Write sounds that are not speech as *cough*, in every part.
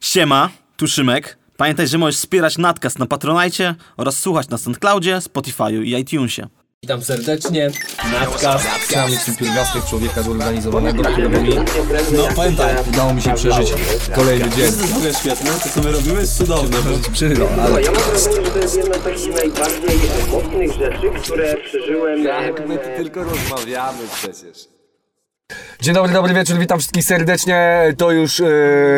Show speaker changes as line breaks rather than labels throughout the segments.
Siema, tu Szymek. Pamiętaj, że możesz wspierać Natkast na Patronajcie oraz słuchać na SoundCloudzie, Spotify'u i iTunesie.
Witam serdecznie. Natka, sami tym pierwiastek człowieka zorganizowanego, który mówi
No pamiętaj.
udało mi się przeżyć kolejny dzień.
To jest w ogóle świetne, to co my robimy jest cudowne.
Przeżył, ale
Ja mam wrażenie, że to jest jedna z takich najbardziej mocnych rzeczy, które przeżyłem.
Tak, my tylko rozmawiamy przecież.
Dzień dobry, dobry wieczór, witam wszystkich serdecznie. To już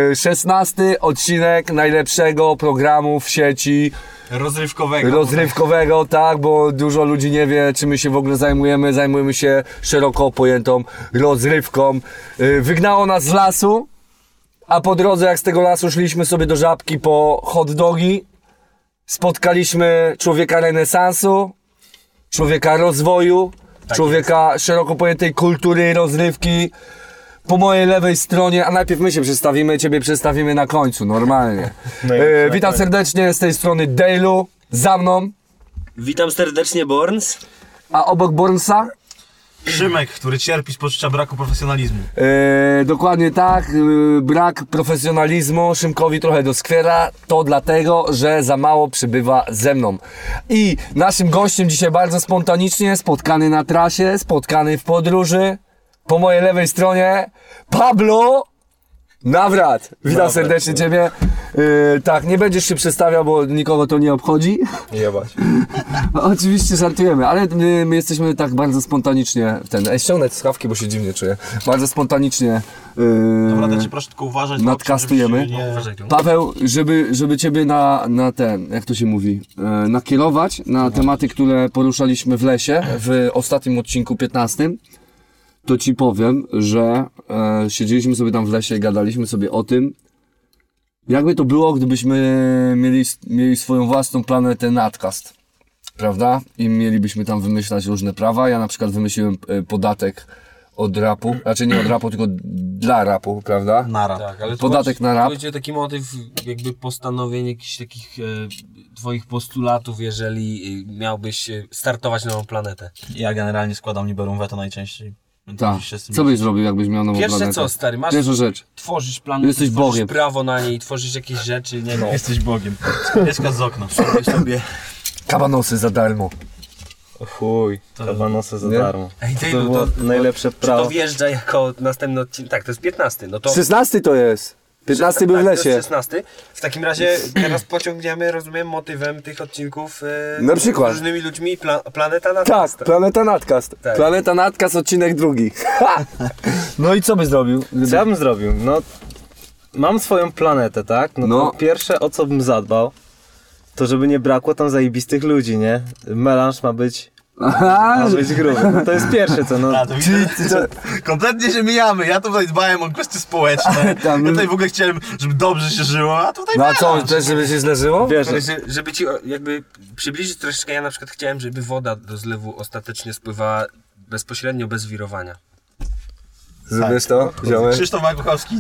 yy, 16 odcinek najlepszego programu w sieci
Rozrywkowego.
rozrywkowego, tak, bo dużo ludzi nie wie, czym my się w ogóle zajmujemy. Zajmujemy się szeroko pojętą rozrywką. Yy, Wygnało nas z lasu, a po drodze, jak z tego lasu szliśmy sobie do żabki po hot dogi, spotkaliśmy człowieka renesansu, człowieka rozwoju, człowieka szeroko pojętej kultury rozrywki. Po mojej lewej stronie, a najpierw my się przedstawimy, ciebie przedstawimy na końcu, normalnie. e, witam serdecznie z tej strony Dailu, za mną,
Witam serdecznie Borns.
a obok Bornsa.
Szymek, który cierpi z poczucia braku profesjonalizmu.
E, dokładnie tak, e, brak profesjonalizmu Szymkowi trochę doskwiera, to dlatego, że za mało przybywa ze mną. I naszym gościem dzisiaj bardzo spontanicznie, spotkany na trasie, spotkany w podróży, po mojej lewej stronie, Pablo Nawrat. Witam serdecznie Ciebie. E, tak, nie będziesz się przestawiał, bo nikogo to nie obchodzi.
Jebać.
No, Oczywiście żartujemy, ale my, my jesteśmy tak bardzo spontanicznie w ten. Ej, ściągnę te słuchawki, bo się dziwnie czuję. Bardzo spontanicznie. Yy,
Radę cię proszę tylko uważać.
nadkastujemy. Paweł, żeby, żeby ciebie na, na ten, jak to się mówi, e, nakierować na tematy, które poruszaliśmy w lesie w ostatnim odcinku 15, to ci powiem, że e, siedzieliśmy sobie tam w lesie i gadaliśmy sobie o tym, jakby to było, gdybyśmy mieli, mieli swoją własną planetę nadkast. Prawda? I mielibyśmy tam wymyślać różne prawa. Ja na przykład wymyśliłem e, podatek od rapu, znaczy nie od rapu, tylko dla rapu, prawda?
Nara.
Tak, ale
Podatek
chodzi-
na rap.
Chodzi o taki motyw jakby postanowień jakichś takich e, twoich postulatów, jeżeli e, miałbyś e, startować nową planetę.
Ja generalnie składam liberum veto najczęściej. Więc
Tak.
musisz się z tym
Co byś zrobił, jakbyś miał nową
Pierwsze
planetę?
co, stary, masz,
Pierwsza rzecz.
tworzysz planetę,
Jesteś
tworzysz
Bogiem.
prawo na niej, tworzysz jakieś rzeczy, nie no.
Jesteś Bogiem. Mieszka z okna. Sobie sobie.
Kabanosy za darmo.
Chuj, kabanosy za
Nie? *laughs*
darmo.
Ej, ty,
To
no
było
to,
najlepsze
czy to
prawo.
wjeżdża jako następny odcinek? Tak, to jest 15, no to...
16 to jest. 15 był w
Tak, to jest
lesie.
16. W takim razie teraz pociągniemy, rozumiem, motywem tych odcinków e,
Na przykład.
z różnymi ludźmi pla, planeta na
Tak, Planeta Natkast.
Tak.
Planeta Natkast, odcinek drugi. Ha! No i co by zrobił?
Co ja bym zrobił? No, mam swoją planetę, tak? No,
No.
To pierwsze, o co bym zadbał, to żeby nie brakło tam zajebistych ludzi, nie? Melanż ma być,
Aha,
ma być gruby. No, to jest pierwsze co, no.
A, to widzę, że kompletnie się mijamy. Ja tutaj dbałem o kwestie społeczne.
*laughs*
*laughs*
Tam-
Ja tutaj w ogóle chciałem, żeby dobrze się żyło, a tutaj
no a co,
melanż.
też żeby się zleżyło?
Wiesz,
Ale że- żeby ci o, jakby przybliżyć troszeczkę, ja na przykład chciałem, żeby woda do zlewu ostatecznie spływała bezpośrednio, bez wirowania.
Zrobisz to, ziomek?
Krzysztof Makuchowski.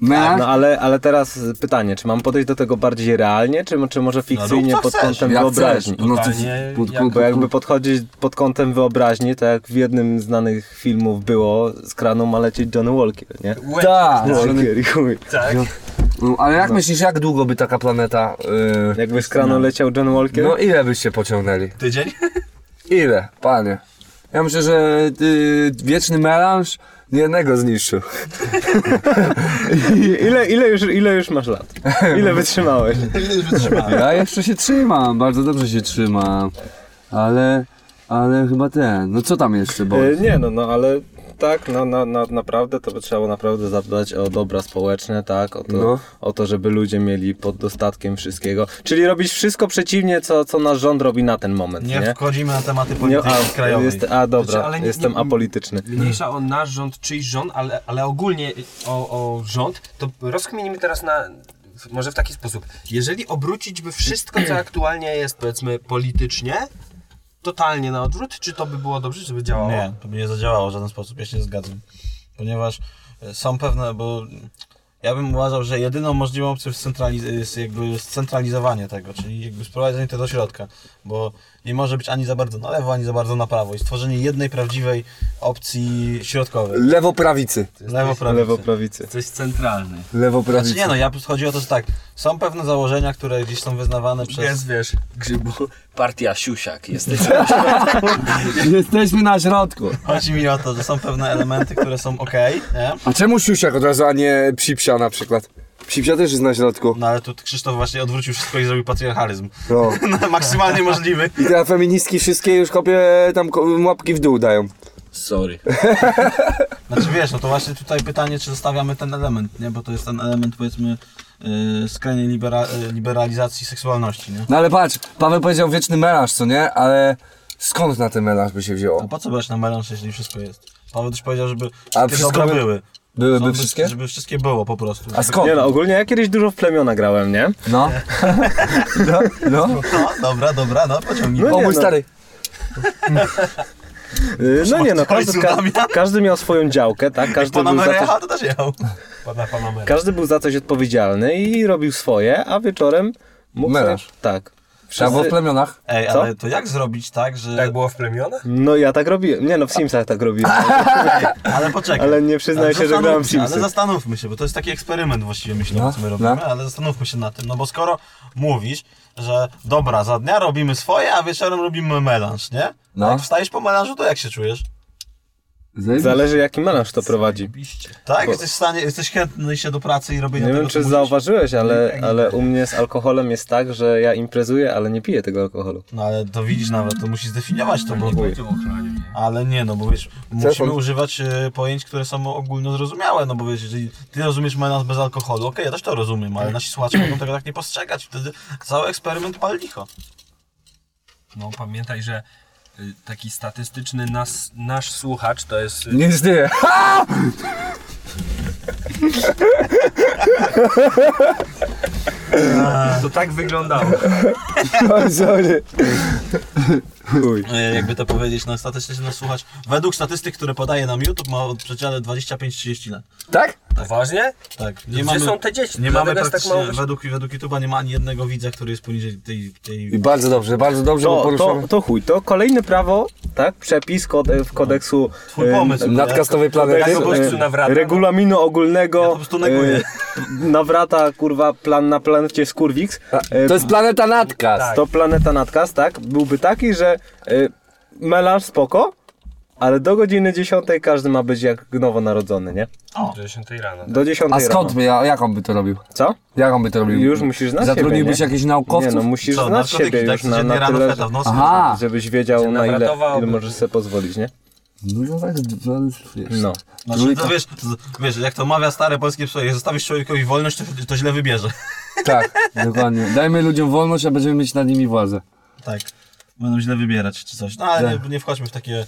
no
Melanż?
ale, ale teraz pytanie, czy mam podejść do tego bardziej realnie, czy, czy
No
może fikcyjnie
co
pod
chcesz.
kątem
Jak chcesz.
wyobraźni?
No to
Totalnie,
pod,
jak-
pod,
Bo jakby
pod,
podchodzić pod kątem wyobraźni, tak jak w jednym z znanych filmów było, z kranu ma lecieć Johnny Walker, nie?
Łe-
Tak,
Walker, i chuj.
tak.
no, ale jak myślisz, jak długo by taka planeta... Yy,
Jakby z kranu leciał Johnny Walker?
no ile byście pociągnęli?
Tydzień?
Ile, panie? Ja myślę, że y, wieczny melanż jednego zniszczył.
I- *laughs* Ile, ile, już, ile już masz lat?
*laughs*
Ile wytrzymałeś?
Ja jeszcze się trzymam, bardzo dobrze się trzymam. Ale, ale chyba ten. No co tam jeszcze, bo.
E, Nie no, no ale tak, no, na, na, naprawdę to by trzeba było naprawdę zadbać o dobra społeczne, tak, o to,
No.
o to, żeby ludzie mieli pod dostatkiem wszystkiego. Czyli robić wszystko przeciwnie, co, co nasz rząd robi na ten moment, nie? No,
Nie, wchodzimy na tematy polityki
a,
krajowej.
Jest, a dobra,
Znaczy, ale nie-
jestem
nie-
apolityczny.
Mniejsza o nasz rząd, czyjś rząd, ale, ale ogólnie o, o rząd, to rozkminimy teraz na. w- Może w taki sposób. Jeżeli obrócić by wszystko, co aktualnie jest, powiedzmy, politycznie, totalnie na odwrót, czy to by było dobrze, żeby działało?
Nie, to by nie zadziałało w żaden sposób, ja się zgadzam. Ponieważ e, są pewne, bo
Ja bym uważał, że jedyną możliwą opcją jest centraliz- jest jakby scentralizowanie tego, czyli jakby sprowadzenie tego do środka, bo nie może być ani za bardzo na lewo, ani za bardzo na prawo i stworzenie jednej prawdziwej opcji środkowej.
Lewo-prawicy.
Lewo, prawo.
Lewo prawicy.
Coś centralny.
Lewo-prawicy.
Znaczy nie no, ja chodzi o to, że tak, są pewne założenia, które gdzieś są wyznawane przez...
wiesz, grzybu. Partia siusiak jesteś.
Jesteśmy na środku.
*laughs* Chodzi mi o to, że są pewne elementy, które są okej, nie?
A czemu siusiak od razu, a nie psipsia na przykład? Psipsia też jest na środku.
No ale tu Krzysztof właśnie odwrócił wszystko i zrobił patriarchalizm.
No.
Maksymalnie możliwy.
I te feministki wszystkie już kopie tam ko- łapki w dół dają.
Sorry.
Znaczy wiesz, no to właśnie tutaj pytanie, czy zostawiamy ten element, nie? Bo to jest ten element, powiedzmy, yy, skrajnej libera- y, liberalizacji seksualności, nie?
No ale patrz, Paweł powiedział wieczny melanż, co nie? Ale skąd na ten melanż by się
A
wzięło?
po co brać na melanż, jeśli wszystko jest? Paweł też powiedział, żeby
A
wszystkie
wszystko
dobra
by-
były.
Byłyby
Żeby-
wszystkie?
Żeby wszystkie było po prostu.
A skąd?
Nie no, ogólnie ja kiedyś dużo w plemiona grałem, nie? E, *laughs*
No. No, no.
No, dobra, dobra, no pociągnij.
No
O
nie,
mój
no.
stary.
Yy, No nie no, każdy, ka
Damian.
*laughs* każdy miał swoją działkę, tak? Każdy
Pana
był, za coś,
Merecha to też jechał.
Pana Panamera.
każdy był za coś odpowiedzialny i robił swoje, a wieczorem mógł sobie-
Melarz.
Tak.
Albo w plemionach.
Ej,
Co?
ale to jak zrobić tak, że...
Tak było w plemionach?
No ja tak robiłem. Nie no, w Simsach
*laughs*
tak robiłem.
Ale poczekaj.
Ale nie przyznaję się, że
zastanówmy
grałem w
się,
Simsy.
Ale zastanówmy się, bo to jest taki eksperyment właściwie myślę,
No,
co my robimy,
no.
ale zastanówmy się na tym, no bo skoro mówisz, że dobra, za dnia robimy swoje, a wieczorem robimy melanż, nie?
No.
No. Jak wstajesz po melanżu, to jak się czujesz?
Zależy jaki melarz to prowadzi.
Tak?
Bo-
Jesteś w stanie, jesteś chętny się do pracy i robienia
Nie
tego,
wiem,
co
czy
mówisz?
zauważyłeś, ale, ale u mnie z alkoholem jest tak, że ja imprezuję, ale nie piję tego alkoholu.
No ale to widzisz nawet, to musisz zdefiniować to, bo...
Dziękuję.
Ale nie, no bo wiesz, musimy
on-
używać e, pojęć, które są ogólnozrozumiałe, no bo wiesz, jeżeli ty rozumiesz melanż bez alkoholu, okej, ja też to rozumiem, ale nasi słuchacze mogą tego tak nie postrzegać, wtedy cały eksperyment pal licho.
No pamiętaj, że y, taki statystyczny nas, nasz słuchacz to jest... y,
Nie
*laughs*
zdyje.
To tak wyglądało.
No,
Sorry.
E, jakby to powiedzieć, no statystycznie nas słuchać. Według statystyk, które podaje nam YouTube, ma od przedziale 25-30 lat.
Tak?
Poważnie?
Tak.
Gdzie są te dzieci?
Nie
Dlatego
mamy
jest tak
praktycznie,
mało wyświetleń.
według, według YouTube'a nie ma ani jednego widza, który jest poniżej tej... tej...
I bardzo dobrze, bardzo dobrze, bo
No, To,
poruszamy.
to, to chuj, to kolejne prawo, tak? Przepis kode, w kodeksu
Twój
y,
em,
pomysł. nie?
Nadkastowej
kodeksu,
planety.
po prostu
em,
nawrata.
regulaminu ogólnego
no. Ja po prostu neguję.
em, nawrata, kurwa, plan na planecie Skurwix.
A,
em,
To jest planeta nadkaz.
To planeta nadkaz, tak? Byłby taki, że y, melarz spoko, ale do godziny 10 każdy ma być jak nowonarodzony, nie?
O. 10 rano.
Do 10
A skąd
rano.
by, ja- jak on by to robił?
Co?
Jak on by to robił?
Już musisz znać
Zatrudniłbyś
siebie, nie?
jakichś
Nie
naukowców?
no, musisz
Co,
znać
narkotyki,
siebie
tak?
już na,
Codziennie
na
rano
tyle,
feta w nos.
Aha.
żebyś wiedział na ile, ile
nawratowałby.
możesz sobie pozwolić, nie?
No tak, wiesz.
No.
Znaczy, to wiesz, z- wiesz, jak to mawia stare polskie psy, jak zostawisz człowiekowi wolność, to, to źle wybierze. *laughs*
Tak, dokładnie. Dajmy ludziom wolność, a będziemy mieć nad nimi władzę.
Tak. Będą źle wybierać czy coś. No ale
Tak.
nie, nie wchodźmy w takie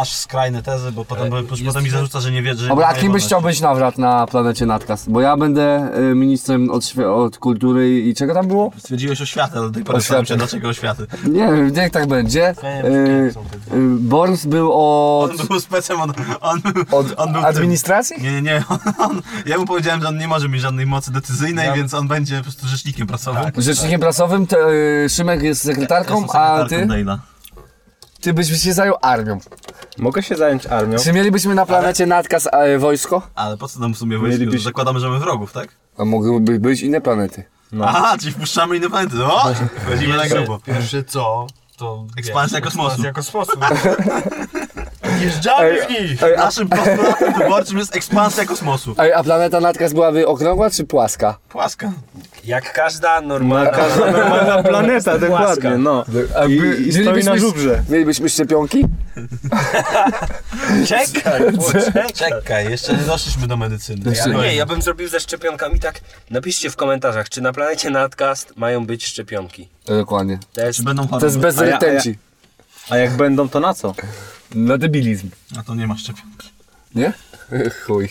aż skrajne tezy, bo potem, bo, potem mi zarzuca, że nie wie, że
E, Dobra, a
nie
kim byś chciał być nawrat na planecie nadkaz? Bo ja będę y, ministrem od, świe- od kultury i czego tam było?
Stwierdziłeś oświatę, ale do tej pory zastanawiam się,
Oświaty.
dlaczego oświaty.
Nie wiem, niech tak będzie.
Nie wiem,
Y,
są te-
y, Borys był od,
On był specem, on, on, był- on był tym.
administracji?
Nie, nie, *laughs* nie. On, on, ja mu powiedziałem, że on nie może mieć żadnej mocy decyzyjnej, więc on będzie po prostu rzecznikiem prasowym. Tak.
Rzecznikiem prasowym, te, y, Szymek jest sekretarką, a ty, ty byś się zajął armią.
Mogę się zająć
*laughs*
armią.
Czy mielibyśmy na planecie nadkaz y, wojsko?
Ale po co nam w sumie wojsko?
Mielibyś-
Zakładamy, że mamy wrogów, tak?
A mogłyby być inne planety.
Aha, czyli wpuszczamy inne planety. O! Wchodzimy na grubo.
Pierwsze co, to...
Ekspansja
wiesz,
kosmosu.
Ekspansja kosmosu. Jeżdżamy w nich!
Naszym postulatem wyborczym jest ekspansja kosmosu.
Ej, a planeta nadkaz byłaby okrągła czy płaska?
Płaska.
*laughs* Jak każda normalna...
Na każda normalna planeta, dokładnie, no. I, i stoi na
mielibyśmy-
żubrze.
Mielibyśmy szczepionki?
*laughs* *laughs* Czekaj, bo czekaj.
Czekaj, jeszcze nie doszliśmy do medycyny.
Ja, nie, ja bym zrobił ze szczepionkami tak. Napiszcie w komentarzach, czy na planecie Nadcast mają być szczepionki.
E, Dokładnie.
To jest...
Czy będą
To
choroby?
jest bez
A ja- a ja-
retencji.
A jak będą, to na co?
Na debilizm.
A to nie ma szczepionki.
Nie? *laughs* Chuj.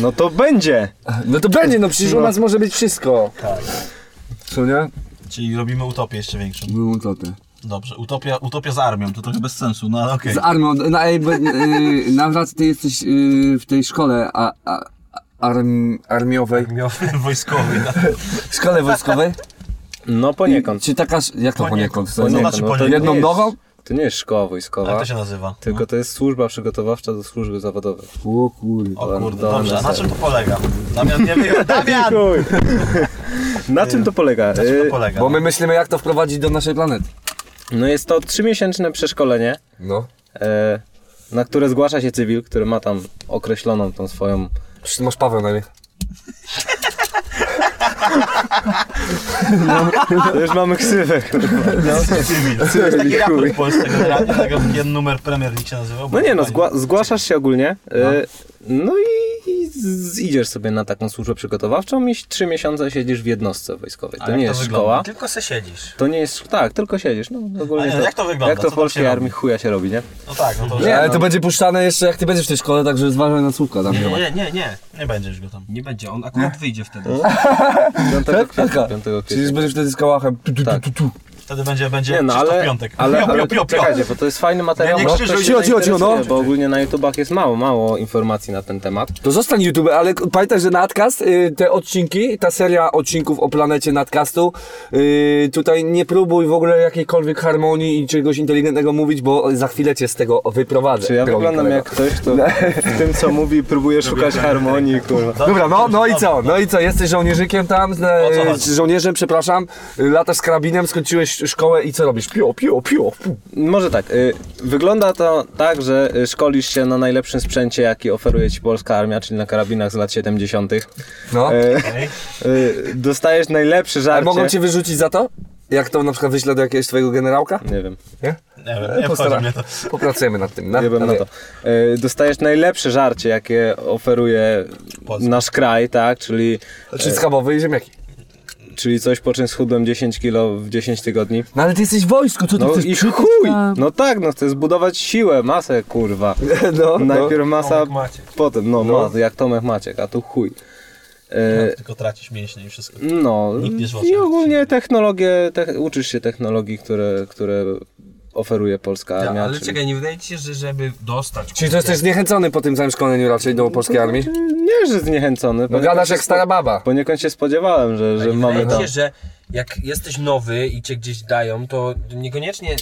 No to będzie!
No to będzie, no przecież u nas może być wszystko. Tak. Co nie?
Czyli robimy utopię jeszcze większą.
Byłem to ty.
Dobrze, utopia, utopia z armią, to trochę bez sensu, no ale okej.
y, Z armią, na, ej, be- y, na wraz ty jesteś y, w tej szkole a, a, a- arm, armiowej,
Miowy wojskowy. No.
szkole *laughs* wojskowej?
No poniekąd.
Czy taka, sz- jak to poniekąd?
To
poniekąd.
znaczy
no
poniekąd.
Jedną
nie jest-
nogą?
To nie jest szkoła
Jak
wojskowa,
to się nazywa?
tylko to jest służba przygotowawcza do służby zawodowej.
O kurde.
O kurde,
Dobra,
dobrze, na
dobra.
czym to polega? Damian, nie wiem, Damian!
Na czym to polega?
Na czym
Y,
to polega?
Bo my myślimy jak to wprowadzić do naszej planety.
No jest to trzymiesięczne przeszkolenie,
No.
e, na które zgłasza się cywil, który ma tam określoną tą swoją...
Przecież ty masz Paweł na mnie.
To już mamy ksywę.
Cywil. To jest taki raport w Polsce generalnie, tego jeden numer Premier League się nazywał. bo
No nie no,
fajnie.
zgła- zgłaszasz się ogólnie, y, no i, i z- idziesz sobie na taką służbę przygotowawczą i trzy miesiące siedzisz w jednostce wojskowej.
A
To
jak
nie
to
jest
wygląda?
szkoła.
Tylko se siedzisz.
To nie jest... Tak, tylko siedzisz. No, ogólnie
A nie,
to,
jak to wygląda?
Jak
Co
to w
tam
polskiej
się
armii chuja się robi, nie?
No tak, no to
Nie,
nie,
ale
no.
to będzie puszczane jeszcze jak ty będziesz w tej szkole, także zważaj na słówka tam.
Nie, nie, nie, nie.
nie będziesz go tam.
Nie będzie, on akurat wyjdzie wtedy.
5
Tak?
kwietnia.
Taka.
5
Czyli
kwietnia.
będziesz wtedy z kałachem. Tu, tu, tu,
Tak.
tu, tu.
Wtedy będzie, będzie
Nie no,
Krzysztof
ale,
Piątek. *laughs*
ale,
pio,
ale
pio, pio, pio.
czekajcie, bo to jest fajny materiał.
Nie, nie
bo
krzyżuj,
ktoś
cicho, cicho, cicho, no.
zainteresuje, Bo ogólnie na YouTubach jest mało, mało informacji na ten temat.
To zostań YouTube, ale k- pamiętaj, że Natcast, y, te odcinki, ta seria odcinków o planecie Natcastu, y, tutaj nie próbuj w ogóle jakiejkolwiek harmonii i czegoś inteligentnego mówić, bo za chwilę cię z tego wyprowadzę.
Czy ja
drogi
wyglądam
kolego.
jak ktoś, kto w tym co mówi próbuje szukać harmonii, kurwa.
Dobra, no, no i co? No i co? Jesteś żołnierzykiem tam,
O co
e,
chodzi?
żołnierzem, przepraszam, y, latasz z karabinem, skończyłeś szkołę i co robisz? Pio, pio, pio. pu.
Może tak, y, wygląda to tak, że y, szkolisz się na najlepszym sprzęcie, jaki oferuje ci polska armia, czyli na karabinach z lat 70.
No.
Y, y, dostajesz najlepszy
A
żarcie.
mogą cię wyrzucić za to? Jak to na przykład wyślę do jakiegoś twojego generałka?
Nie wiem.
Nie wiem, nie wchodzi
Postara-
mnie to.
Popracujemy nad tym. no. Na,
Nie wiem E, na to. E, Dostajesz najlepsze żarcie, jakie oferuje
Polska.
nasz kraj, tak? Czyli,
Czyli schabowy i ziemniaki.
czyli coś, po czym schudłem 10 kilo w 10 tygodni.
No ale ty jesteś w wojsku, co ty
No
chcesz?
i chuj! No tak, no chcę zbudować siłę, masę, kurwa. *laughs*
No, no.
Najpierw masa,
Tomek Maciek.
potem, no,
No.
ma- jak Tomek Maciek, a tu chuj. E,
Tylko tracisz mięśnie i wszystko.
No
Nikt nie zwłaszcza.
i ogólnie technologie, te, uczysz się technologii, które, które oferuje polska
Ja,
armia.
ale
czyli-
czekaj, nie wydaje ci się, że żeby dostać...
Czyli to jesteś zniechęcony po tym całym szkoleniu raczej do polskiej armii?
No Nie, że zniechęcony.
No
poniekąd
gadasz
się
jak
spo-
stara baba.
Poniekąd się spodziewałem, że, że
nie
mamy
wydaje
tam.
ci się, że jak jesteś nowy i cię gdzieś dają, to niekoniecznie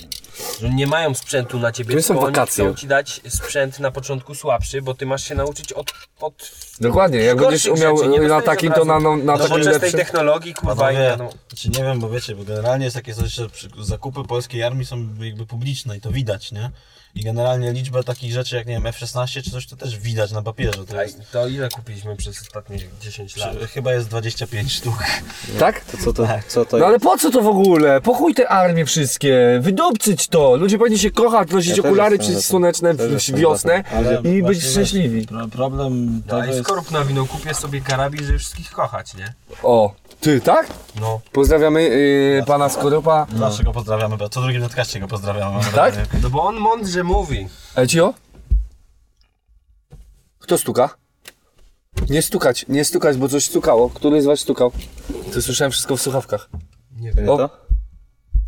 że nie mają sprzętu na ciebie,
To są
tylko oni
wakacje.
chcą ci dać sprzęt na początku słabszy, bo ty masz się nauczyć od, od
Dokładnie, jak
Gorszych
będziesz umiał
rzeczy, nie
y, na
dostajesz
takim,
od
to
razu.
na, no, na takim
nowoczesnej
lepszym.
technologii, kurwa, i
Panowie,
no,
czy nie wiem, bo wiecie, bo generalnie jest takie coś, że przy- zakupy polskiej armii są jakby publiczne i to widać, nie? I generalnie liczba takich rzeczy jak, nie wiem, F-16 czy coś, to też widać na papierze. To jest,
Ej, to ile kupiliśmy przez ostatnie 10 lat?
przy, chyba jest 25 sztuk.
Tak?
To co to, co to
No ale po co to w ogóle? Pochuj te armie wszystkie, wydobcyć to. Ludzie powinni się kochać, nosić
Ja też
okulary
jestem za tym.
przeciwsłoneczne
Też
w
jestem
wiosnę
za
Ale
i
właśnie
być
wiesz,
szczęśliwi.
pro- Problem
A
tego
i
jest...
skorup na wino, kupię sobie karabin, żeby wszystkich kochać, nie?
O, ty, tak?
No.
Pozdrawiamy y, pana Skorupa.
Zawsze go pozdrawiamy, bo co drugim podcaście go pozdrawiamy. mam
Tak?
wrażenie.
No bo on mądrze mówi.
E, Cio? Kto stuka? Nie stukać, nie stukać, bo coś stukało. Który z was stukał? To słyszałem wszystko w słuchawkach.
To?
O.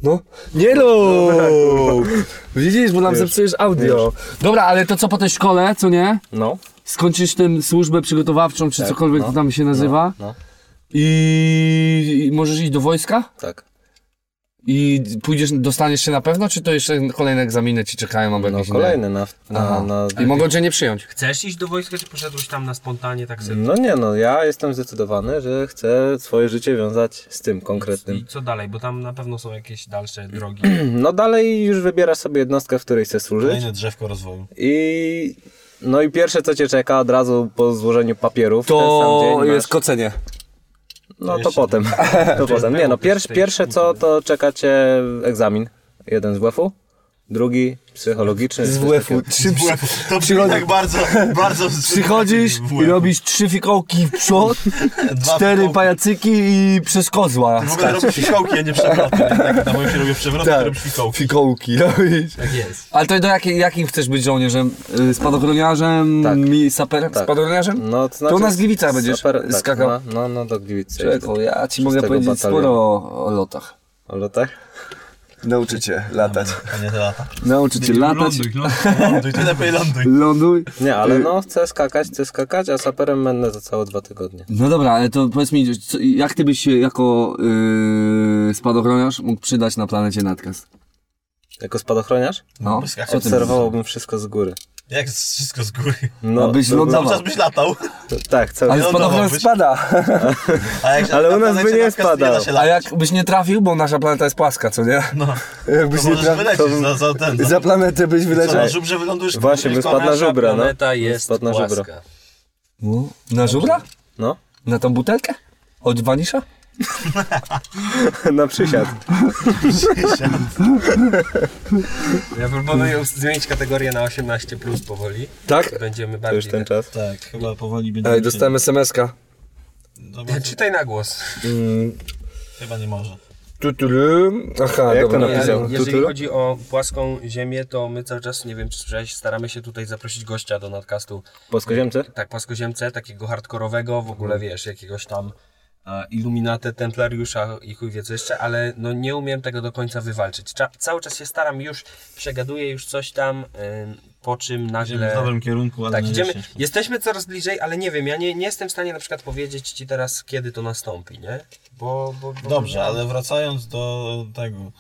No, nie rób! Widzisz, bo nam zepsujesz audio. Dobra, ale to co po tej szkole, co nie?
No.
Skończysz tę służbę przygotowawczą, czy cokolwiek to tam się nazywa.
no.
I... I możesz iść do wojska?
Tak.
I pójdziesz, dostaniesz się na pewno, czy to jeszcze kolejne egzaminy ci czekają? albo
No
jakieś inne?
kolejny na, na,
Aha.
na...
I mogą cię nie przyjąć.
Chcesz iść do wojska, czy poszedłeś tam na spontanie, tak
Mm.
sobie?
No nie no, ja jestem zdecydowany, że chcę swoje życie wiązać z tym konkretnym.
I co dalej? Bo tam na pewno są jakieś dalsze drogi.
No dalej już wybierasz sobie jednostkę, w której chcesz służyć.
Kolejne drzewko rozwoju.
I no i pierwsze co cię czeka od razu po złożeniu papierów w ten sam
To
dzień
jest
masz,
kocenie.
No to
jeszcze-
*laughs*
potem. To potem. Nie no, pier, pierwsze co to czeka cię egzamin. Jeden z WF-u, drugi psychologiczny.
Z
czy coś
WF-u.
takiego.
Trzy przy...
To
Przychodzi-
tak bardzo, bardzo...
Przychodzisz i
WF.
robisz trzy fikołki w przód,
Dwa
cztery
fikołki.
pajacyki i przez kozła.
W ogóle robisz fikołki, a nie przewroty. Tak, na moim się robię przewroty,
Tak.
tak. robisz fikołki.
Fikołki no robisz.
Tak jest.
Ale to do jakiej, jakim chcesz być żołnierzem? Y, Spadochroniarzem?
Tak.
Mi, saperem?
Tak.
Spadochroniarzem?
No, to, znaczy,
u nas Gliwica będziesz
super-
skakał.
No, no, no do Gliwicy.
Czego? Ja ci mogę
Szóstego
powiedzieć
batalionu.
sporo o, o lotach.
Ale tak?
Nauczę cię latać.
A nie te lata. No,
Nauczę cię latać.
Ląduj, ląduj, ląduj, ty lepiej ląduj.
Ląduj.
Nie,
Y-
ale no, chcę skakać, chcę skakać, a saperem będę za całe dwa tygodnie.
No dobra, ale to powiedz mi, co, jak ty byś się jako yy, spadochroniarz mógł przydać na planecie Natkast?
Jako spadochroniarz?
No,
jak
co ty
Obserwowałbym wszystko z góry.
Jak z- wszystko z góry.
No,
A byś
to-
lądował.
Cały czas byś latał,
Tak, cały
Ale
No,
spadochron
czas.
lądowałbyś.
spada.
a jak się
Ale u nas
na
by nie
planecie Nazca
spadał.
da się
A
latać.
jakbyś nie trafił, bo nasza planeta jest płaska, co nie?
No,
*laughs* Jakbyś
to
nie
możesz
trafił, to
wylecieć za, za ten. Za,
za planetę byś
co, na
wyleciał.
żubrze wylądujesz?
Właśnie, bym spadł na żubra, no.
Planeta jest
Spadł na żubra.
płaska.
No. Na żubra?
No, *laughs*
Na tą butelkę? Od wanisza?
na przysiad.
Ja proponuję zmienić kategorię na 18 plus powoli.
Tak?
Będziemy
To już
bardziej.
ten czas.
Tak, chyba powoli będzie.
Ej, dostałem SMS-ka.
Dobra,
Czytaj na głos.
chyba nie może.
Tuturu. Aha,
Jak to
dobra. no,
napisał?
napisałem.
Jeżeli
Tuturu?
chodzi o płaską ziemię, to my cały czas, nie wiem czy słyszałeś, staramy się tutaj zaprosić gościa do nadcastu.
Płaskoziemce?
Tak, płaskoziemce, takiego hardkorowego, w ogóle
Mhm.
wiesz, jakiegoś tam e, iluminatę, templariusza i chuj wie co jeszcze, ale no nie umiem tego do końca wywalczyć. Cza- cały czas się staram, już przegaduję, już coś tam, ym, po czym
Idziemy
nagle...
w dobrym kierunku, ale
E, Tak,
nie
idziemy,
ciężko.
jesteśmy coraz bliżej, ale nie wiem, ja nie, nie jestem w stanie na przykład powiedzieć Ci teraz, kiedy to nastąpi, nie? Bo... bo, bo
Dobrze, ale wracając do tego,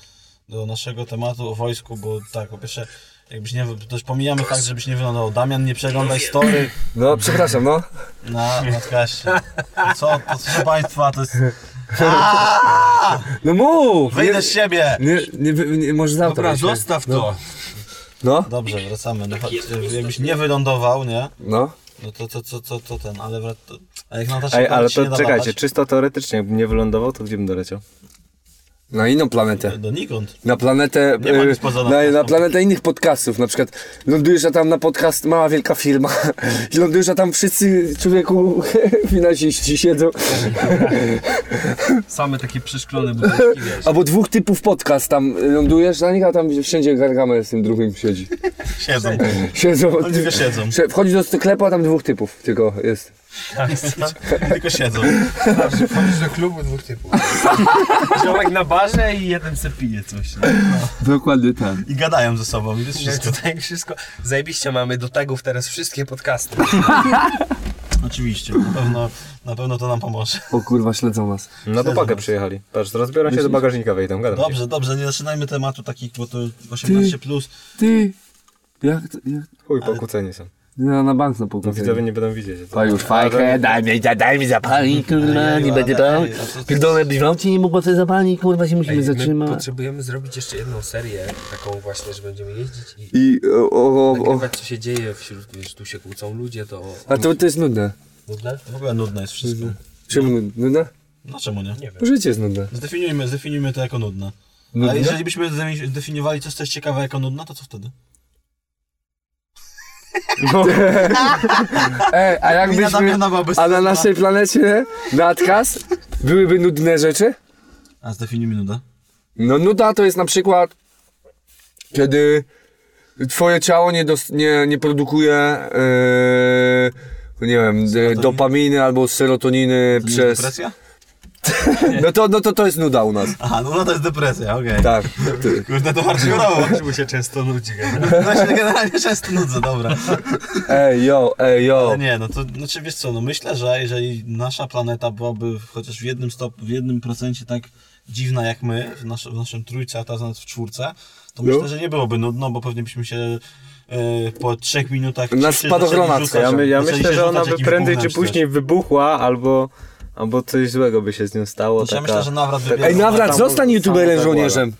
do naszego tematu o wojsku, bo tak, po pierwsze, jakbyś nie, wy- też pomijamy fakt, żebyś nie wylądował. Damian, nie przeglądaj story
No, przepraszam, no.
na podcaście. Co, to, proszę Państwa, to jest...
No mów!
Wyjdę z siebie!
Nie, nie, nie, nie może za
Dobra, zostaw to!
No,
Dobrze, wracamy. No, chodź, jakbyś nie wylądował, nie?
no.
No to, to, to, to, to ten, ale... wrac- to- A jak na
Ej,
naszej
ale
planecie nie
to
da
czekajcie,
latać,
czysto teoretycznie, jakbym nie wylądował, to gdzie bym
*laughs*
doleciał?
Na inną planetę.
Donikąd.
Na planetę.
Nie ma
y,
nic poza
na,
podcastem.
na planetę innych podcastów. Na przykład lądujesz a tam na podcast mała wielka firma. *laughs* I lądujesz a tam wszyscy człowieku *laughs* finansiści siedzą.
Same takie przeszklone butelki, wiesz.
Albo dwóch typów podcast tam y, lądujesz na nich, a tam wszędzie gargamel z tym drugim siedzi.
Siedzą.
Siedzą.
Oni tylko siedzą.
Prze- Wchodzi do sklepu, a tam dwóch typów tylko jest.
Tylko siedzą.
Wchodzisz do klubu dwóch typów. Ziomek na barze i jeden se pije coś. Nie?
Dokładnie tak.
I gadają ze sobą i to jest
Więc
wszystko.
Tutaj Tak, wszystko. Zajebiście mamy do tagów teraz wszystkie podcasty.
Oczywiście, na pewno, na pewno to nam pomoże.
O kurwa, śledzą nas.
Na
Siedzą.
dopakę przyjechali. Patrz, rozbiorą się do bagażnika, wejdą, gadam. ci.
Dobrze, dobrze, nie zaczynajmy tematu takich, bo to 18 plus.
Ty! Jak, to- jak
Chuj, pokłóceni są.
ja na bank na pokój.
Widzowie nie będą widzieć.
Daj już fajkę, daj mi, daj, daj mi zapalić, kurwa, nie będę brał. Pierdolę, byś wam ci nie mógł sobie zapalić, kurwa, się musimy
My
zatrzymać.
potrzebujemy zrobić jeszcze jedną serię, taką właśnie, że będziemy jeździć i
I o, o, o.
nagrywać, co się dzieje wśród, wiesz, tu się kłócą ludzie, to...
A to, to jest nudne.
Nudne?
W ogóle nudne jest wszystko.
Czemu nudne? nudne?
No czemu nie?
Nie wiem.
Życie jest nudne.
Zdefiniujmy, zdefiniujmy to jako nudne. A
Nudne? *laughs*
jeżeli byśmy zde- zdefiniowali coś, co jest ciekawe jako nudne, to co wtedy?
Ej, E, a
Wina
jakbyśmy...
Damiana byłaby
A na
stąd,
naszej planecie, na Atkas, byłyby nudne rzeczy?
A zdefiniujmy nudę.
No nuda to jest na przykład, kiedy twoje ciało nie, dos- nie, nie produkuje, yy, nie wiem, e, dopaminy albo serotoniny
To nie jest
przez...
depresja?
No to, no to, to jest nuda u nas.
Aha, no to jest depresja, okej.
Tak.
Kurde, to hardkorowo.
Mu się często nudzi.
*laughs* No się generalnie często nudzę, dobra.
Ej, yo, ej, yo.
Ale nie, no to znaczy wiesz co, no myślę, że jeżeli nasza planeta byłaby w- chociaż w jednym stop, w jednym procencie tak dziwna jak my, w, nasz, w naszym trójce, a teraz nawet w czwórce, to
No.
myślę, że nie byłoby nudno, bo pewnie byśmy się e, po trzech minutach...
Na
czy- czy
spadochronach,
zaczęli
Ja,
rzucać-
my, ja
zaczęli
myślę,
się
że
rzucać
ona by
jakimś
prędzej czy
gównem coś.
później wybuchła, albo, albo coś złego by się z nią stało.
Znaczy, ja
taka...
myślę, że nawrat wybiera.
Ej, nawrat,
Tam
zostań
był-
youtuberem
tak
tam
żołnierzem.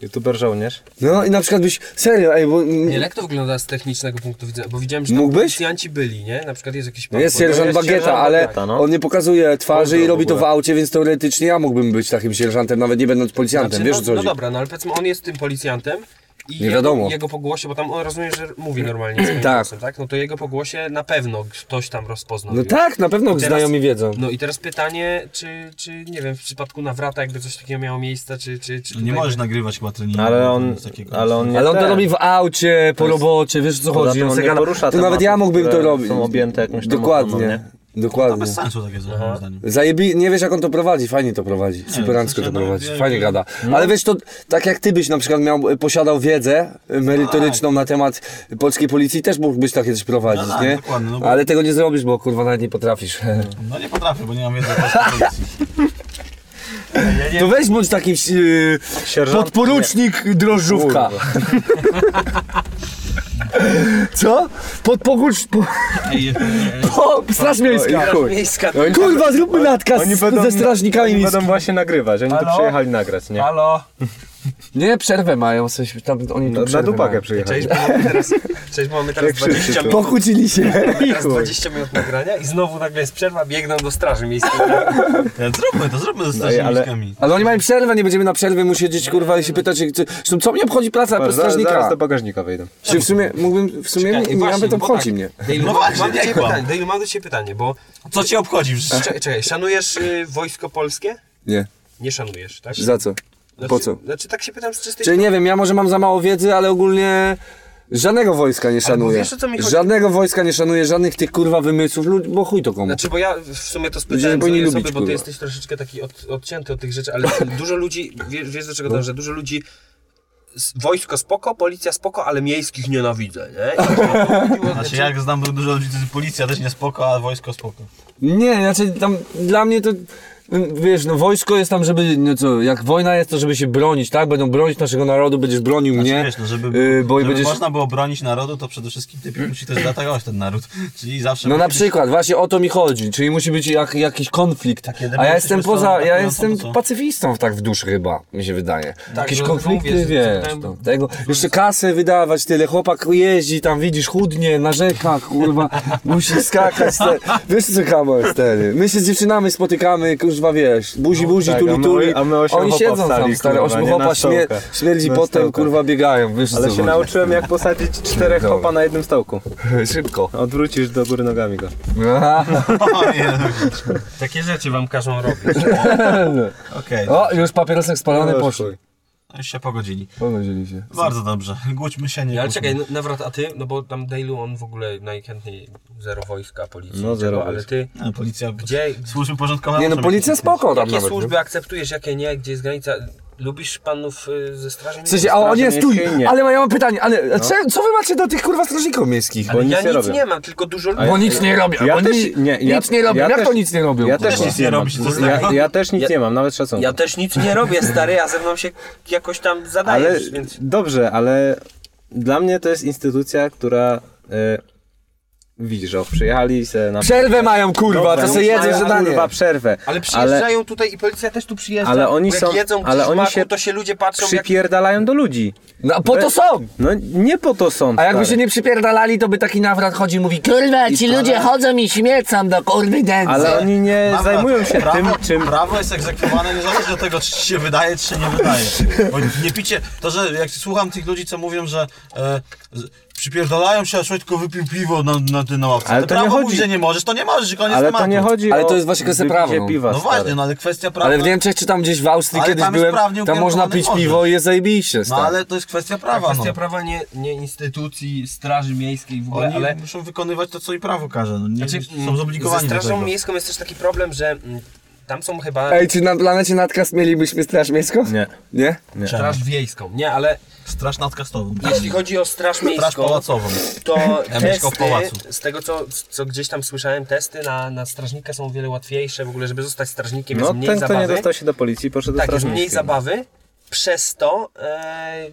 YouTuber żołnierz.
No i na przykład byś, serio, ej, bo...
Nie, jak to wygląda z technicznego punktu widzenia? Bo widziałem, że tam
Mógłbyś? No
policjanci byli, nie? Na przykład jest jakiś pan...
Jest
pod-
sierżant
jest
Bagieta,
sierżant
ale
Bagieta, no.
on nie pokazuje twarzy i
Pozdro w
robi to w
ogóle.
aucie, więc teoretycznie ja mógłbym być takim sierżantem, nawet nie będąc policjantem,
Znaczy,
wiesz
no,
o co
no
chodzi?
dobra, no ale powiedzmy on jest tym policjantem i
Nie wiadomo.
Jego, jego pogłosie, bo tam on rozumie, że mówi
*clears throat*
normalnie swoim
Tak.
tak. głosem, tak? No to jego pogłosie na pewno ktoś tam rozpoznał.
No
już.
tak, na pewno
Teraz-
znajomi wiedzą.
No i teraz pytanie, czy, czy nie wiem, w przypadku nawrata jakby coś takiego miało miejsce, czy... czy, czy
Nie
tutaj-
możesz nagrywać chyba treningu.
Ale on,
No, takiego.
ale on nie
Ale on
ten.
to robi w aucie, po robocie, wiesz o co
Poza
chodzi.
tym on
se
nie
gada-
porusza
to nawet
tematów,
ja mógłbym to
które
robić.
są objęte jakąś tam ochroną,
Dokładnie.
nie?
To
Dokładnie.
bez sensu takie coś, moim zdaniem.
Zajebi... Nie wiesz jak on to prowadzi, fajnie to prowadzi, superancko to
w sensie, no,
prowadzi,
wie-
fajnie
wie-
gada. Ale wiesz, to tak jak ty byś na przykład miał, e, posiadał wiedzę e, merytoryczną
Tak.
na temat polskiej policji, też mógłbyś takie coś prowadzić,
No tak,
nie?
dokładnie, no bo-
Ale tego nie zrobisz, bo kurwa nawet nie potrafisz.
No nie potrafię, bo nie mam wiedzy o polskiej policji.
*laughs* To weź bądź taki yy,
Sierżant,
podporucznik drożdżówka. *laughs* Co? Podporucz... Po, *laughs*
Ej,
po, straż
i
miejska.
chuj.
Miejska.
Kurwa, zróbmy natkaz
Oni
z-
będą-
ze strażnikami
Oni
miejskimi.
będą właśnie nagrywać, oni tu
Halo?
przyjechali nagrać, nie?
Halo.
Nie, przerwę mają, coś tam, oni tu
Na, na
przerwę
dupakę
mają.
przyjechali.
Cześć, bo mamy teraz, cześć, bo mamy teraz
Jak wszyscy
20
tu.
minut.
Pokłócili się.
Teraz 20 minut nagrania i znowu nagle jest przerwa, biegną do straży miejskiej.
E, Zróbmy to, zróbmy ze starszymi
No ale-
miskami.
Ale oni mają przerwę, nie będziemy na przerwę musieć kurwa i się pytać, jak- czy- zresztą co mnie obchodzi praca
Zaraz, zaraz
strażnika?
do bagażnika wejdę.
Czy w sumie mógłbym, w sumie
Czekaj,
nie
właśnie,
nawet
bo
obchodzi
tak.
mnie.
Dejlu,
No
mam
właśnie,
do ciebie
nie kłam.
pytanie, Dejlu, mam do ciebie pytanie, bo
Co cię obchodzi? Przecież
czekaj, czekaj szanujesz y, Wojsko Polskie?
Nie,
Nie szanujesz, tak?
za co?
Znaczy-
Po co?
Znaczy tak się pytam z czystej...
Czyli nie wiem, ja może mam za mało wiedzy, ale ogólnie żadnego wojska nie szanuję.
wiesz, o co mi chodzi?
Żadnego wojska nie szanuję, żadnych tych kurwa wymysłów, lud- bo chuj to komu.
Znaczy, bo ja w sumie to
Ludzie nie
spytałem
powinni
sobie,
lubić,
bo ty
kurwa.
jesteś troszeczkę taki od, odcięty od tych rzeczy, ale *laughs* dużo ludzi, wiesz, wiesz do czego
No.
dążę, dużo ludzi s- wojsko spoko, policja spoko, ale miejskich nienawidzę, nie?
*laughs*
I to chodziło,
Znaczy jak znam dużo ludzi, to policja też nie spoko, a wojsko spoko.
Nie, znaczy tam dla mnie to. mm, Wiesz, no wojsko jest tam, żeby, no co, jak wojna jest, to żeby się bronić, tak? Będą bronić naszego narodu, będziesz bronił
Znaczy,
mnie,
wiesz, no, żeby,
yy, bo
żeby
będziesz...
można było bronić narodu, to przede wszystkim ty musi też zaatakować ten naród. Czyli zawsze
No
musi
na
być-
przykład, właśnie o to mi chodzi, czyli musi być jak, jakiś konflikt,
Takie
a ja
demonstracje
jestem
są
poza, ja
atakujące,
jestem
to co?
pacyfistą tak w duszy chyba, mi się wydaje.
Tak,
Jakieś
no,
konflikty,
mówię, że
wiesz,
tam-
tam, tego, jeszcze kasę wydawać tyle, chłopak jeździ, tam widzisz, chudnie, narzeka, kurwa, *laughs* musi skakać, te, wiesz co kamo jest wtedy, my się z dziewczynami spotykamy, kurwa, wiesz, buzi, buzi,
tak, a
tuli,
my-
tuli,
a my ośmiu
oni
chłopa
siedzą tam,
wstali,
stary,
kurwa,
ośmiu
nie?
chopa
Na
śmie,
stołkę.
śmierdzi
Na
potem,
stołkę.
kurwa, biegają, wiesz
Ale
co
się
chodzi.
nauczyłem jak posadzić czterech
Dobra.
chopa na jednym *laughs* stołku.
Szybko.
Odwrócisz do góry nogami go.
O, nie,
Takie rzeczy wam każą robić.
*laughs*
Okej,
O, już papierosek spalony
No,
poszły.
chuj.
no już się pogodzili.
Pogodzili się.
Bardzo dobrze. Głódźmy się, nie
Ale
kłóćmy.
czekaj, Nawrot, a ty? No bo tam Dejlu, on w ogóle najchętniej zero wojska, policji.
No, zero
czego, Ale
wojska.
ty,
No, Policja,
Gdzie-
służby porządkowe...
Nie no,
muszą
policja
mieć-
spoko tam
jakie
nawet.
służby
nie?
akceptujesz, jakie nie, gdzie jest granica? Lubisz panów y, ze straży
W sensie, a o nie,
Straży
stój,
miejskiej nie. No.
ale ja mam pytanie, ale co, co wy macie do tych kurwa strażników miejskich?
Bo
Ale
nic
ja
nie
nic
robią.
nie mam, tylko dużo ludzi.
Bo nic nie robią,
Ja
bo
też-
ni-
nie, ja-
nic nie robią,
ja
jak to
też-
nic nie robią?
Ja
kurwa?
też nic nie
robi
mam.
się to
Ja, ja też nic
Ja-
nie mam, nawet szacunku.
Ja też nic nie robię, stary, a ze mną się jakoś tam zadajesz,
ale
więc...
dobrze, ale dla mnie to jest instytucja, która e, widzisz, że przyjechali se na
Przerwę mają kurwa, to
Dobra,
se jedzą
mają,
zadanie.
Kurwa, przerwę.
Ale przyjeżdżają tutaj i policja też tu przyjeżdża.
Ale oni
bo jak
są-
jedzą
ale oni
smaku,
się
to się ludzie patrzą jak...
przypierdalają do ludzi.
No po to są!
No nie po to są.
A jakby
stary.
się nie przypierdalali, to by taki nawrat chodzi i mówi Kurwa, ci ludzie chodzą i śmiecą do kurwy dęce.
tak. Ale oni nie
Prawda,
zajmują się
prawo,
tym, czym...
Prawo jest egzekwowane niezależnie od tego, czy ci się wydaje, czy się nie wydaje. Bo nie picie... To, że jak słucham tych ludzi, co mówią, że... E, z- Przypierdalają się, a człowiek tylko wypił piwo na, na, na, na ławce.
Ale
Ty
to nie
prawo
chodzi-
mówi, że nie możesz, to nie możesz, i koniec
Ale
tematu.
to nie chodzi
Ale
o
to jest właśnie kwestia
wypicie
prawa, no.
Piwa,
No
stary.
właśnie, no ale kwestia prawna...
Ale w Niemczech czy tam gdzieś w Austrii
Ale
kiedyś
tam jest
byłem,
prawnie
tam można pić
ukierunkowany
piwo i jest zajebiście.
No
stary.
ale to jest kwestia prawa,
Kwestia
no.
prawa nie, nie instytucji, straży miejskiej w ogóle,
Oni
ale...
muszą wykonywać to, co im prawo każe. No, nie, są
mm,
zobligowani
Ze
do
strażą
tego.
miejską jest też taki problem, że mm, tam są chyba...
Ej, czy na planecie nadkaz mielibyśmy straż miejską?
no.
Nie.
Nie?
Straż wiejską. Nie, ale
Straż nadkastową.
jeśli chodzi o straż
Straż
miejską,
pałacową.
to
mieszkam w pałacu.
testy, z tego co, co gdzieś tam słyszałem, testy na, na strażnika są o wiele łatwiejsze, w ogóle żeby zostać strażnikiem
No
jest mniej
ten, kto nie
zabawy.
dostał się do policji, poszedł
Tak,
do
jest
straży
mniej
miejskiej.
zabawy, przez to e,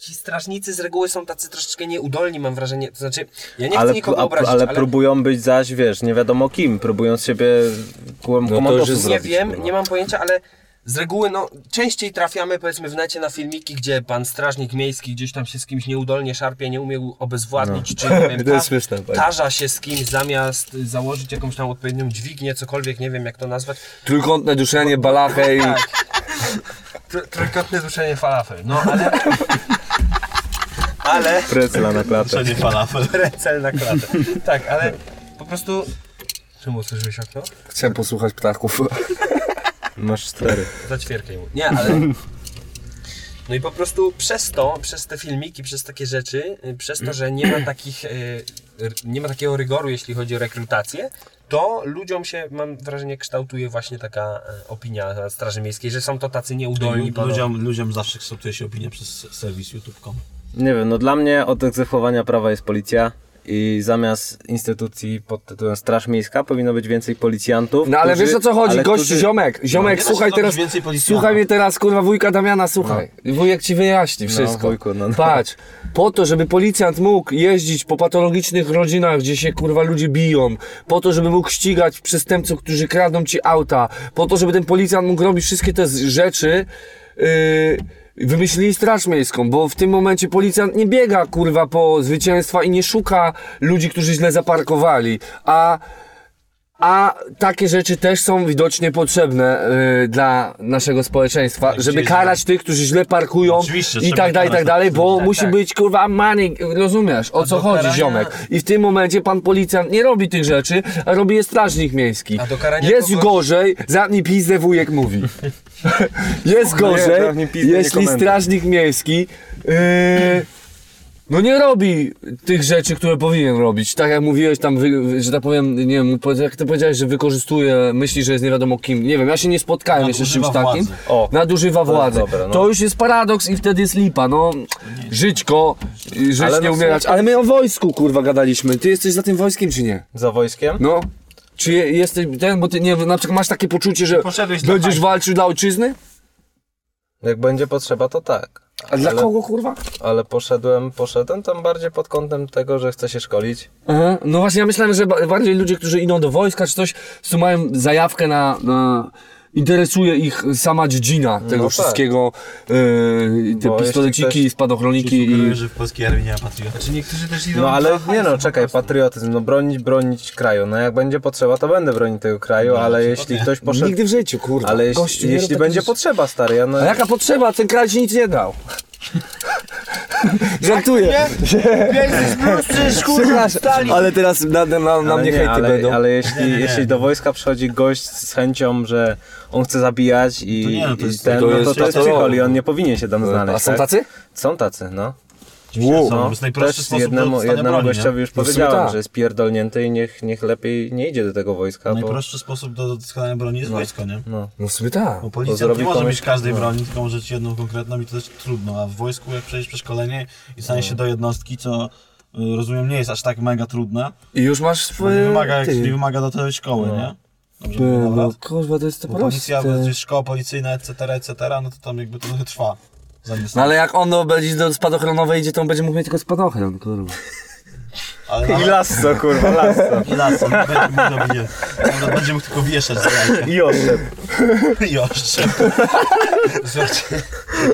ci strażnicy z reguły są tacy troszeczkę nieudolni, mam wrażenie. To znaczy, ja nie chcę
Ale,
nikogo
a-
obrazić,
ale
ale,
próbują być zaś, wiesz, nie wiadomo kim, próbują z siebie kom-
No to już
komandosów
jest-
nie
zrobić,
wiem,
kurwa.
nie mam pojęcia, ale z reguły no, częściej trafiamy powiedzmy w necie na filmiki, gdzie pan strażnik miejski gdzieś tam się z kimś nieudolnie szarpie, nie umiał obezwładnić, czy nie wiem,
To jest śmieszne, tak.
tarza się z kimś zamiast y, założyć jakąś tam odpowiednią dźwignię, cokolwiek, nie wiem jak to nazwać.
Trójkątne duszenie, balachę i...
Tr- trójkątne duszenie falafel, no ale... ale...
Prycla
*laughs*
na klatę.
No
Wszędzie falafel.
Precel na klatę. Tak, ale po prostu... Czemu otworzyłeś okno?
Chciałem posłuchać ptaków.
Masz cztery.
Zaćwierkaj mu. Nie, ale... No i po prostu przez to, przez te filmiki, przez takie rzeczy, y, przez to, że nie ma takich, y, r- nie ma takiego rygoru, jeśli chodzi o rekrutację, to ludziom się, mam wrażenie, kształtuje właśnie taka e, opinia Straży Miejskiej, że są to tacy nieudolni. podobno.
Ludziom, ludziom zawsze kształtuje się opinia przez serwis YouTube.com.
Nie wiem, no dla mnie od egzekwowania prawa jest policja i zamiast instytucji pod tytułem Straż Miejska powinno być więcej policjantów.
No ale
którzy-
wiesz o co chodzi,
ale
gościu,
którzy- No.
ziomek, ziomek,
nie da się
słuchaj
zrobić
teraz,
więcej policjanta.
słuchaj mnie teraz, kurwa, wujka Damiana, słuchaj, wujek ci wyjaśni wszystko,
wujku, no, no.
patrz, po to, żeby policjant mógł jeździć po patologicznych rodzinach, gdzie się, kurwa, ludzie biją, po to, żeby mógł ścigać przestępców, którzy kradną ci auta, po to, żeby ten policjant mógł robić wszystkie te z- rzeczy, yy, wymyślili Straż Miejską, bo w tym momencie policjant nie biega, kurwa, po zwycięstwa i nie szuka ludzi, którzy źle zaparkowali, a a takie rzeczy też są widocznie potrzebne y, dla naszego społeczeństwa,
Tak,
żeby
oczywiście.
karać tych, którzy źle parkują
Oczywiście,
i
trzeba
tak dalej, i tak
karać
dalej, bo
tak,
musi
tak.
być kurwa money, rozumiesz o co
do
chodzi
karania-
ziomek. I w tym momencie pan policjant nie robi tych rzeczy, a robi je strażnik miejski.
A do karania
Jest
kogoś-
gorzej, zamknij pizdę wujek
*laughs*
mówi. Jest gorzej,
zamknij pizdę, nie
jeśli
komentuj.
strażnik miejski yy, no nie robi tych rzeczy, które powinien robić. Tak jak mówiłeś tam, wy- wy- że tak powiem, nie wiem, powiedz- jak ty powiedziałeś, że wykorzystuje, myśli, że jest nie wiadomo kim. Nie wiem, ja się nie spotkałem jeszcze z czymś
Nadużywa
takim.
władzy.
O,
Nadużywa władzy.
dobre, no.
To już jest paradoks i wtedy jest lipa, no. Żyćko, y, żyć
Ale
nie
no w
umierać. Ale my o wojsku, kurwa, gadaliśmy. Ty jesteś za tym wojskiem, czy nie?
Za wojskiem?
No. Czy je- jesteś ten, bo ty nie na przykład masz takie poczucie, że
Poszedłeś do
będziesz
fajki.
walczył dla ojczyzny?
Jak będzie potrzeba, to tak.
A dla
Ale-
kogo, kurwa?
Ale poszedłem, poszedłem tam bardziej pod kątem tego, że chcę się szkolić.
Aha, no właśnie, ja myślałem, że ba- bardziej ludzie, którzy idą do wojska czy coś, co mają zajawkę na, na interesuje ich sama dziedzina tego
tak.
wszystkiego, yy, te
Bo jeśli
pistoleciki,
ktoś-
spadochroniki i...
Sugeruję, że w polskiej armii nie ma patriota.
Czy niektórzy też idą
No ale
do
nie no,
hajsu
czekaj,
po prostu.
patriotyzm, no bronić, bronić kraju. No jak będzie potrzeba, to będę bronić tego
No,
kraju, ale jeśli ktoś poszedł...
Nigdy w życiu, kurwa.
Ale jeśli,
Gościu, nie rób
jeśli
takich
będzie
rzeczy.
potrzeba, stary, ja no...
A jaka potrzeba? Ten kraj ci nic nie
*laughs*
dał. Żartuję. Przepraszam, ale teraz na, na, na
ale
mnie
nie,
hejty
ale,
będą.
Ale jeśli, jeśli do wojska przychodzi gość z chęcią, że on chce zabijać i,
To nie, no to
i
jest-
ten,
to
no to,
jest-
to jest
to-
psychol i on nie powinien się tam znaleźć.
A są
tak?
tacy?
Są tacy, no.
Wow.
No,
To jest najprostszy
też
sposób do
jednemu,
dostania
jednemu
broni,
gościowi
nie?
już
No w sumie
powiedziałem,
tak.
że jest pierdolnięty i niech, niech lepiej nie idzie do tego wojska, bo
Najprostszy sposób do doskonalenia broni jest wojsko, nie?
No w sumie tak.
Bo
To
policjant
zrobi
nie może
komuś-
mieć każdej
no.
broni, tylko może mieć jedną konkretną i to też trudno. A w wojsku, jak przejść przeszkolenie i stanie się do jednostki, co y, rozumiem nie jest aż tak mega trudne,
I już masz
bo
swoje...
nie wymaga, jak,
ty.
nie wymaga do tego szkoły, nie? Dobrze,
Ty,
dobra.
No kurwa, to jest to
Bo policja, bo
proste.
jest szkoła policyjna, etc., etc., no to tam jakby to trochę trwa. Zanim
No ale jak ono będzie do spadochronowej idzie, to on będzie mógł mieć tylko spadochron, kurwa.
ale, ale,
I lasso, kurwa, lasso.
I las, on będzie mógł do mnie. On będzie mógł tylko wieszać z jajka.
I oszczep.
I oszczep. Zobaczcie.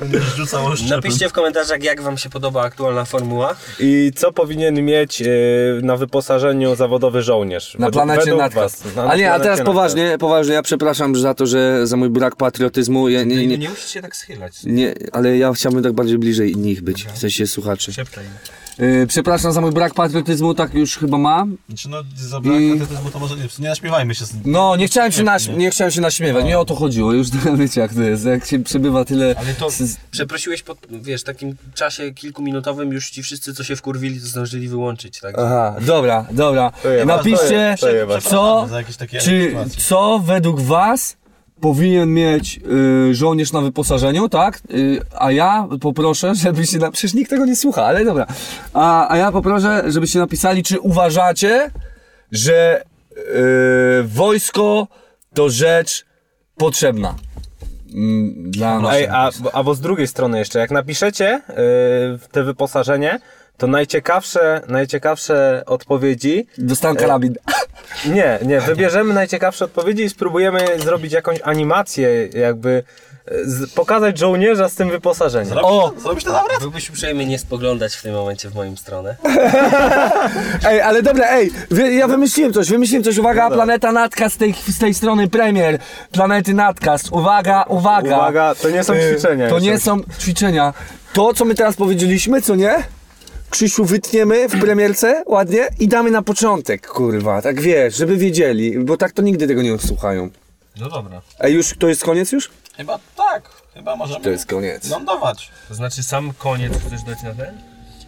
Będziesz rzucał oszczepem.
Napiszcie w komentarzach, jak wam się podoba aktualna formuła.
I co powinien mieć yy, na wyposażeniu zawodowy żołnierz?
Na
Według-
planecie
według
natka.
was. Na- na
A nie, a
planecie
teraz
natka.
poważnie, poważnie, ja przepraszam za to, że za mój brak patriotyzmu, ja, nie,
Nie,
nie,
nie musisz się tak schylać.
nie, ale ja chciałbym tak bardziej bliżej nich być, w sensie słuchaczy.
Szeptaj.
Yy, przepraszam za mój brak patriotyzmu, tak już chyba mam.
Znaczy, no, zabrakło
I-
patriotyzmu, to może nie, nie naśmiewajmy się z
No, nie chciałem się, naś- nie chciałem się naśmiewać, nie o to chodziło, już *laughs* wiecie jak to jest, jak się przebywa tyle...
Ale to
z-
przeprosiłeś po, wiesz, takim czasie kilkuminutowym już ci wszyscy, co się wkurwili, to zdążyli wyłączyć, tak?
Aha, dobra, dobra.
jeba, to
Napiszcie,
je- to jeba.
co,
Za jakieś takie
czy,
sytuacje.
co według was powinien mieć y, żołnierz na wyposażeniu, tak? Y, a ja poproszę, *laughs* żebyście, na... przecież nikt tego nie słucha, ale dobra. A, a ja poproszę, żebyście napisali, czy uważacie, że y, wojsko to rzecz potrzebna mm, dla nas.
Ej, a, a bo z drugiej strony jeszcze, jak napiszecie yy, te wyposażenie, to najciekawsze, najciekawsze odpowiedzi.
Dostałem karabin.
Nie, nie, wybierzemy najciekawsze odpowiedzi i spróbujemy zrobić jakąś animację, jakby yy, z, pokazać żołnierza z tym wyposażeniem.
O,
Zrobisz to dobra?
Byłbyś uprzejmy nie spoglądać w tym momencie w moją stronę.
Ej, ale dobra, ej, wy, ja wymyśliłem coś, wymyśliłem coś, uwaga, planeta Natka z tej, z tej strony premier, planety Natkast, uwaga, uwaga.
Uwaga, to nie są
Y,
ćwiczenia
To
już
nie
jakieś.
są ćwiczenia. To, co my teraz powiedzieliśmy, co nie? Krzysiu, wytniemy w premierce ładnie i damy na początek, kurwa, tak wiesz, żeby wiedzieli, bo tak to nigdy tego nie odsłuchają.
No dobra.
Ej, już, to jest koniec już?
Chyba tak. Chyba możemy
To jest koniec.
lądować.
To znaczy sam koniec chcesz dać na ten?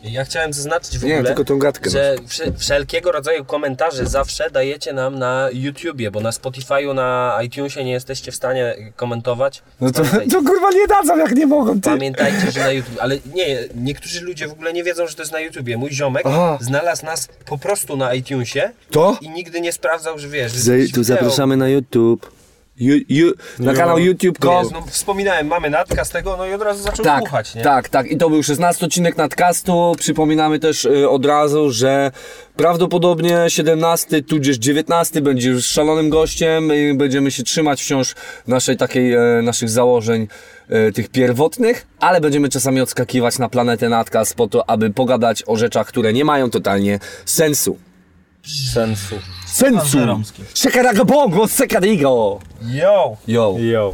Ja chciałem zaznaczyć w
Nie,
ogóle,
tylko tą gadkę
że wsze- wszelkiego rodzaju komentarze zawsze dajecie nam na YouTubie, bo na Spotify'u, na iTunesie nie jesteście w stanie komentować.
No to,
Pamiętajcie.
to kurwa nie dadzą jak nie mogą, ty.
Pamiętajcie, że na YouTube, ale nie, niektórzy ludzie w ogóle nie wiedzą, że to jest na YouTubie. Mój ziomek
Aha.
znalazł nas po prostu na iTunesie
To?
i nigdy nie sprawdzał, że wiesz, że
Zaj-
jakieś
tu
wideo.
zapraszamy na YouTube. Ju, ju,
Na kanał YouTube.com.
Jest, no, wspominałem, mamy natka z tego, no i od razu zaczął
Tak,
słuchać, nie?
tak, tak. I to był 16 odcinek nadcastu. Przypominamy też y, od razu, że prawdopodobnie 17 tudzież 19 będzie już szalonym gościem i będziemy się trzymać wciąż naszej takiej, e, naszych założeń e, tych pierwotnych, ale będziemy czasami odskakiwać na planetę nadcast po to, aby pogadać o rzeczach, które nie mają totalnie sensu.
Sensu.
Sensu!
Pan Żeromski.
Szekaragabongo, sekarigo!
Yo!
Yo.
Yo.